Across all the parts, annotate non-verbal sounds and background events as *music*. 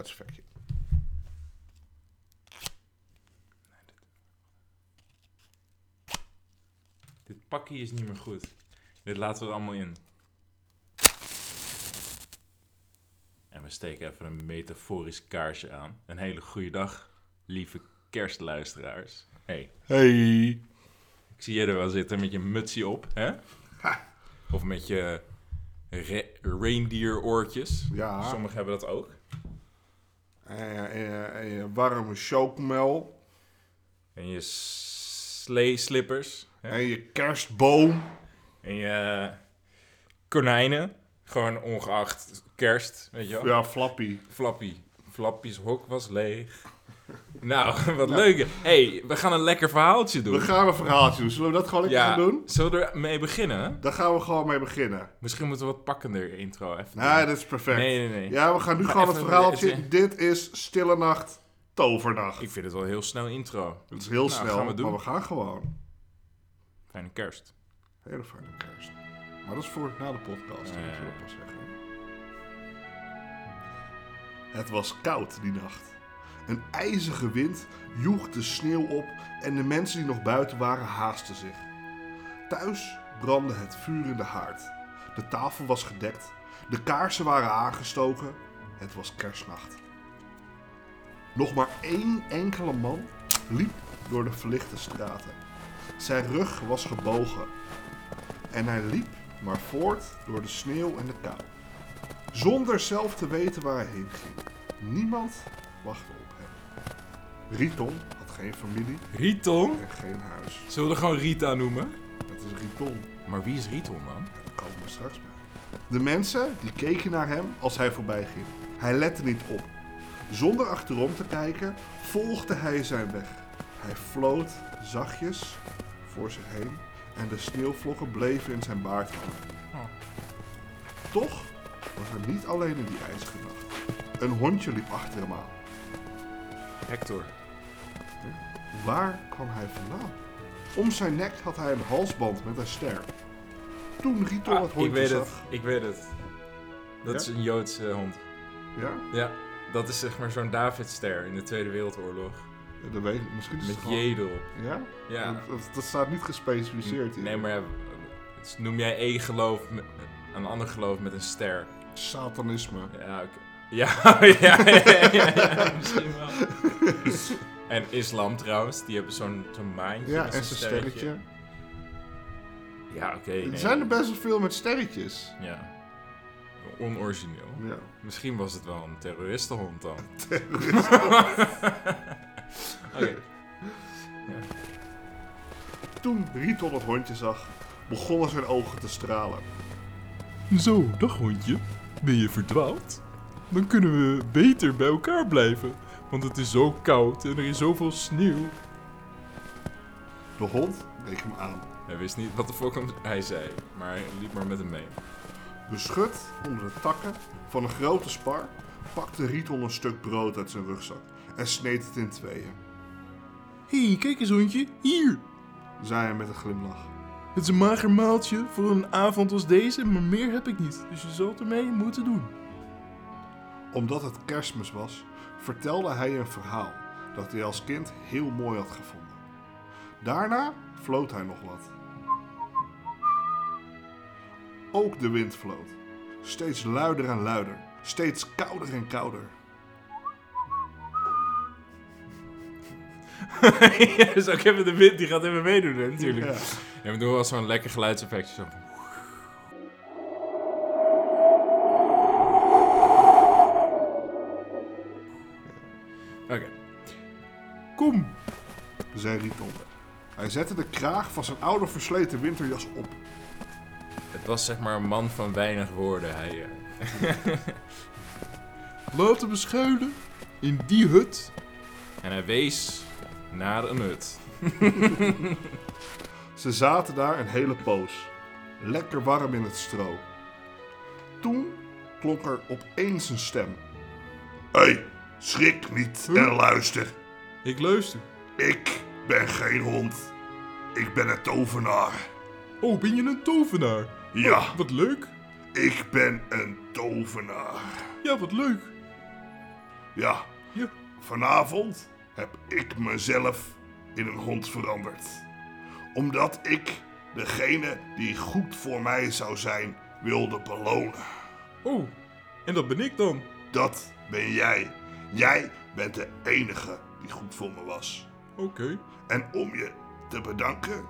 satisfaction. Nee, dit... dit pakje is niet meer goed. Dit laten we er allemaal in. En we steken even een metaforisch kaarsje aan. Een hele goede dag, lieve kerstluisteraars. Hey, Hey. ik zie je er wel zitten met je mutsie op, hè? Ha. Of met je re- reindeeroortjes. Ja, Sommigen hebben dat ook. en, en- en je warme chocomel. En je sleeslippers. hè? En je kerstboom. En je konijnen. Gewoon ongeacht kerst, weet je wel. Ja, flappy. Flappy. Flappy's hok was leeg. *laughs* Nou, *laughs* wat leuk. hey, we gaan een lekker verhaaltje doen. We gaan een verhaaltje doen. Zullen we dat gewoon lekker gaan doen? Zullen we er mee beginnen? Daar gaan we gewoon mee beginnen. Misschien moeten we wat pakkender intro even Nee, doen. dat is perfect. Nee, nee, nee. Ja, we gaan nu Maar gewoon even- het verhaaltje. het- Dit is Stille Nacht, Tovernacht. Ik vind het wel een heel snel intro. Het is heel Nou, snel, gaan we doen. maar we gaan gewoon. Fijne kerst. Hele fijne kerst. Maar dat is voor na de podcast, Ja, ja, moet ja. ik wel pas zeggen. Het was koud die nacht. Een ijzige wind joeg de sneeuw op en de mensen die nog buiten waren haasten zich. Thuis brandde het vuur in de haard. De tafel was gedekt, de kaarsen waren aangestoken. Het was kerstnacht. Nog maar één enkele man liep door de verlichte straten. Zijn rug was gebogen en hij liep maar voort door de sneeuw en de kou. Zonder zelf te weten waar hij heen ging. Niemand wachtte op hem. Riton had geen familie Riton? en geen huis. Zullen we er gewoon Rita noemen? Het is Riton. Maar wie is Riton dan? Daar komen we straks bij. De mensen die keken naar hem als hij voorbij ging. Hij lette niet op. Zonder achterom te kijken, volgde hij zijn weg. Hij floot zachtjes voor zich heen en de sneeuwvlokken bleven in zijn baard hangen. Toch was hij niet alleen in die ijzige nacht. Een hondje liep achter hem aan. Hector. Waar kwam hij vandaan? Om zijn nek had hij een halsband met een ster. Toen Rito Ah, het hondje ik weet zag... het, ik weet het. Dat Ja? is een Joodse hond. Ja? Ja, dat is zeg maar zo'n Davidster in de Tweede Wereldoorlog. Ja, dat weet ik. Misschien is het Met gewoon- Jedel. Ja? Ja. Dat, dat- dat staat niet gespecificeerd hier. Nee, maar ja, dus noem jij één geloof met- een ander geloof met een ster? Satanisme. Ja, oké. Ja, *laughs* ja, ja, ja, ja, misschien wel. En islam trouwens, die hebben zo'n zo'n maantje. Ja, met en zo'n zijn sterretje. Ja, oké. Er nee. zijn er best wel veel met sterretjes. Ja. Onorigineel. Ja. Misschien was het wel een terroristenhond dan. *laughs* Oké. Toen Riton het hondje zag, begonnen zijn ogen te stralen. Zo, dag hondje. Ben je verdwaald? Dan kunnen we beter bij elkaar blijven. Want het is zo koud en er is zoveel sneeuw. De hond keek hem aan. Hij wist niet wat de fuck hem- hij zei, maar hij liep maar met hem mee. Beschut onder de takken van een grote spar pakte Riton een stuk brood uit zijn rugzak en sneed het in tweeën, Hé, hey, kijk eens hondje. Hier. zei hij met een glimlach. Het is een mager maaltje voor een avond als deze, maar meer heb ik niet. Dus je zult ermee moeten doen. Omdat het kerstmis was, vertelde hij een verhaal dat hij als kind heel mooi had gevonden. Daarna floot hij nog wat. Ook de wind floot. Steeds luider en luider. Steeds kouder en kouder. ja, dus ook even de wind, die gaat even meedoen hè, natuurlijk. Ja. Ja. we doen wel zo'n lekker geluidseffectje. Zo. van- Oké. Kom. zei Riton. Hij zette de kraag van zijn oude versleten winterjas op. Het was zeg maar een man van weinig woorden. Hij, eh, Laten we schuilen. In die hut. en hij wees naar een hut. Ze zaten daar een hele poos, lekker warm in het stro. Toen klonk er opeens een stem. Hé, schrik niet en luister. Ik luister. Ik ben geen hond. Ik ben een tovenaar. Oh, ben je een tovenaar? Ja, Oh, Wat leuk. ik ben een tovenaar. Ja, wat leuk. Ja, Ja. vanavond heb ik mezelf in een hond veranderd. Omdat ik degene die goed voor mij zou zijn wilde belonen. Oh, en dat ben ik dan. Dat ben jij. Jij bent de enige die goed voor me was. Oké. En om je te bedanken,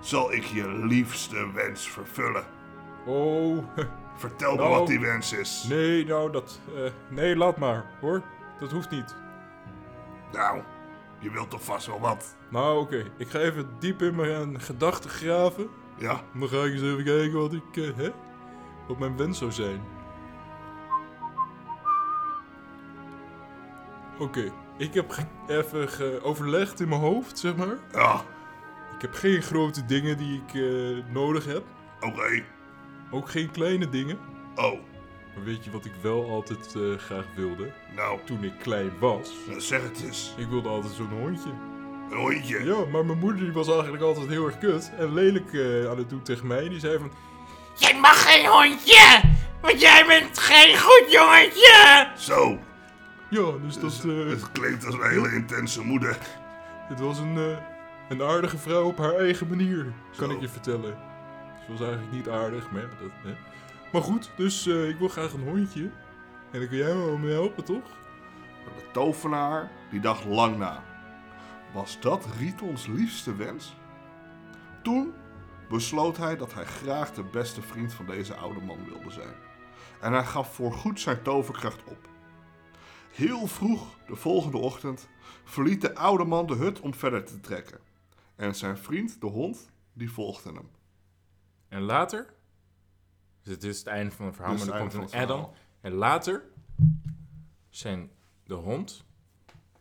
zal ik je liefste wens vervullen. Oh, *laughs* Vertel me Nou, wat die wens is. nee, nou dat... eh, nee, laat maar, hoor. Dat hoeft niet. Nou, je wilt toch vast wel wat? Nou, oké. Ik ga even diep in mijn gedachten graven. Ja, Dan ga ik eens even kijken wat ik... eh, hè? Wat mijn wens zou zijn. Oké. Ik heb ge- even ge- overlegd in mijn hoofd, zeg maar. ja, Ik heb geen grote dingen die ik eh, nodig heb. oké. Ook geen kleine dingen. Oh, Maar weet je wat ik wel altijd eh, graag wilde? nou, Toen ik klein was. nou, zeg het eens. Ik wilde altijd zo'n hondje. Een hondje. Ja, maar mijn moeder die was eigenlijk altijd heel erg kut en lelijk eh, aan het doen tegen mij. Die zei van, Jij mag geen hondje, want jij bent geen goed jongetje. Zo, ja, dus dat... eh, het klinkt als een hele intense moeder. het was een, eh, een aardige vrouw op haar eigen manier, kan Zo. ik je vertellen. Ze was eigenlijk niet aardig, maar ja, dat... Hè. Maar goed, dus eh, ik wil graag een hondje. En dan kun jij me wel mee helpen, toch? De tovenaar die dacht lang na. Was dat Rietons liefste wens? Toen besloot hij dat hij graag de beste vriend van deze oude man wilde zijn. En hij gaf voorgoed zijn toverkracht op. Heel vroeg de volgende ochtend verliet de oude man de hut om verder te trekken. En zijn vriend, de hond, die volgde hem. *laughs* En later, dus dit is het einde van het verhaal, Dit is maar er het komt een einde van het add-on. En later zijn de hond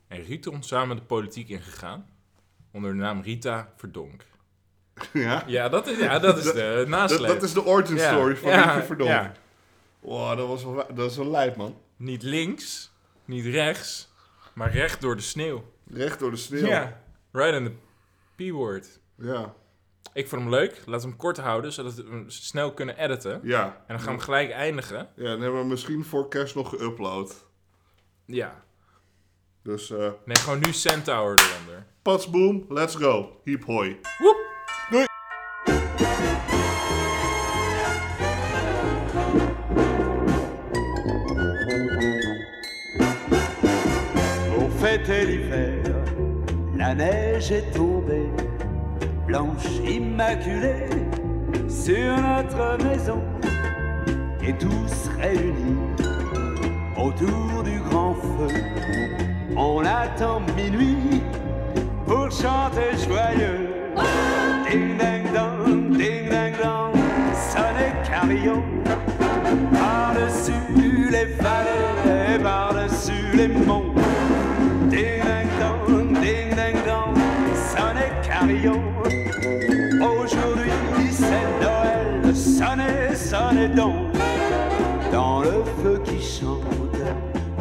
en Riton samen de politiek ingegaan onder de naam Rita Verdonk. Ja, Ja, dat is, *laughs* ja, dat is de dat, nasleep. dat is de origin Ja, story van ja, Rietje Verdonk. ja. Wow, dat was wel, dat is wel lijp, man. Niet links, niet rechts, maar recht door de sneeuw. Recht door de sneeuw. Ja, right in the P-word. Ja. Ik vond hem leuk. Laten we hem kort houden, zodat we hem snel kunnen editen. Ja. En dan gaan we gelijk eindigen. Ja, dan hebben we misschien voor kerst nog geüpload. Ja. Dus eh Nee, gewoon nu Centaur eronder. patsboom, let's go. Hiep hoi. Woep! On fêtait l'hiver, la neige est tombée, blanche immaculée, sur notre maison. Et tous réunis autour du grand feu, on attend minuit pour chanter joyeux. Ding ding dong, ding ding dong, sonnez carillon par-dessus les vallées et par-dessus les monts. Ding-ding-dong, ding-ding-dong, sonnez carillon. Aujourd'hui c'est Noël, e, sonnez, sonnez donc. Dans le feu qui chante,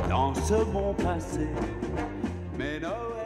dans ce monde passé, mais Noël.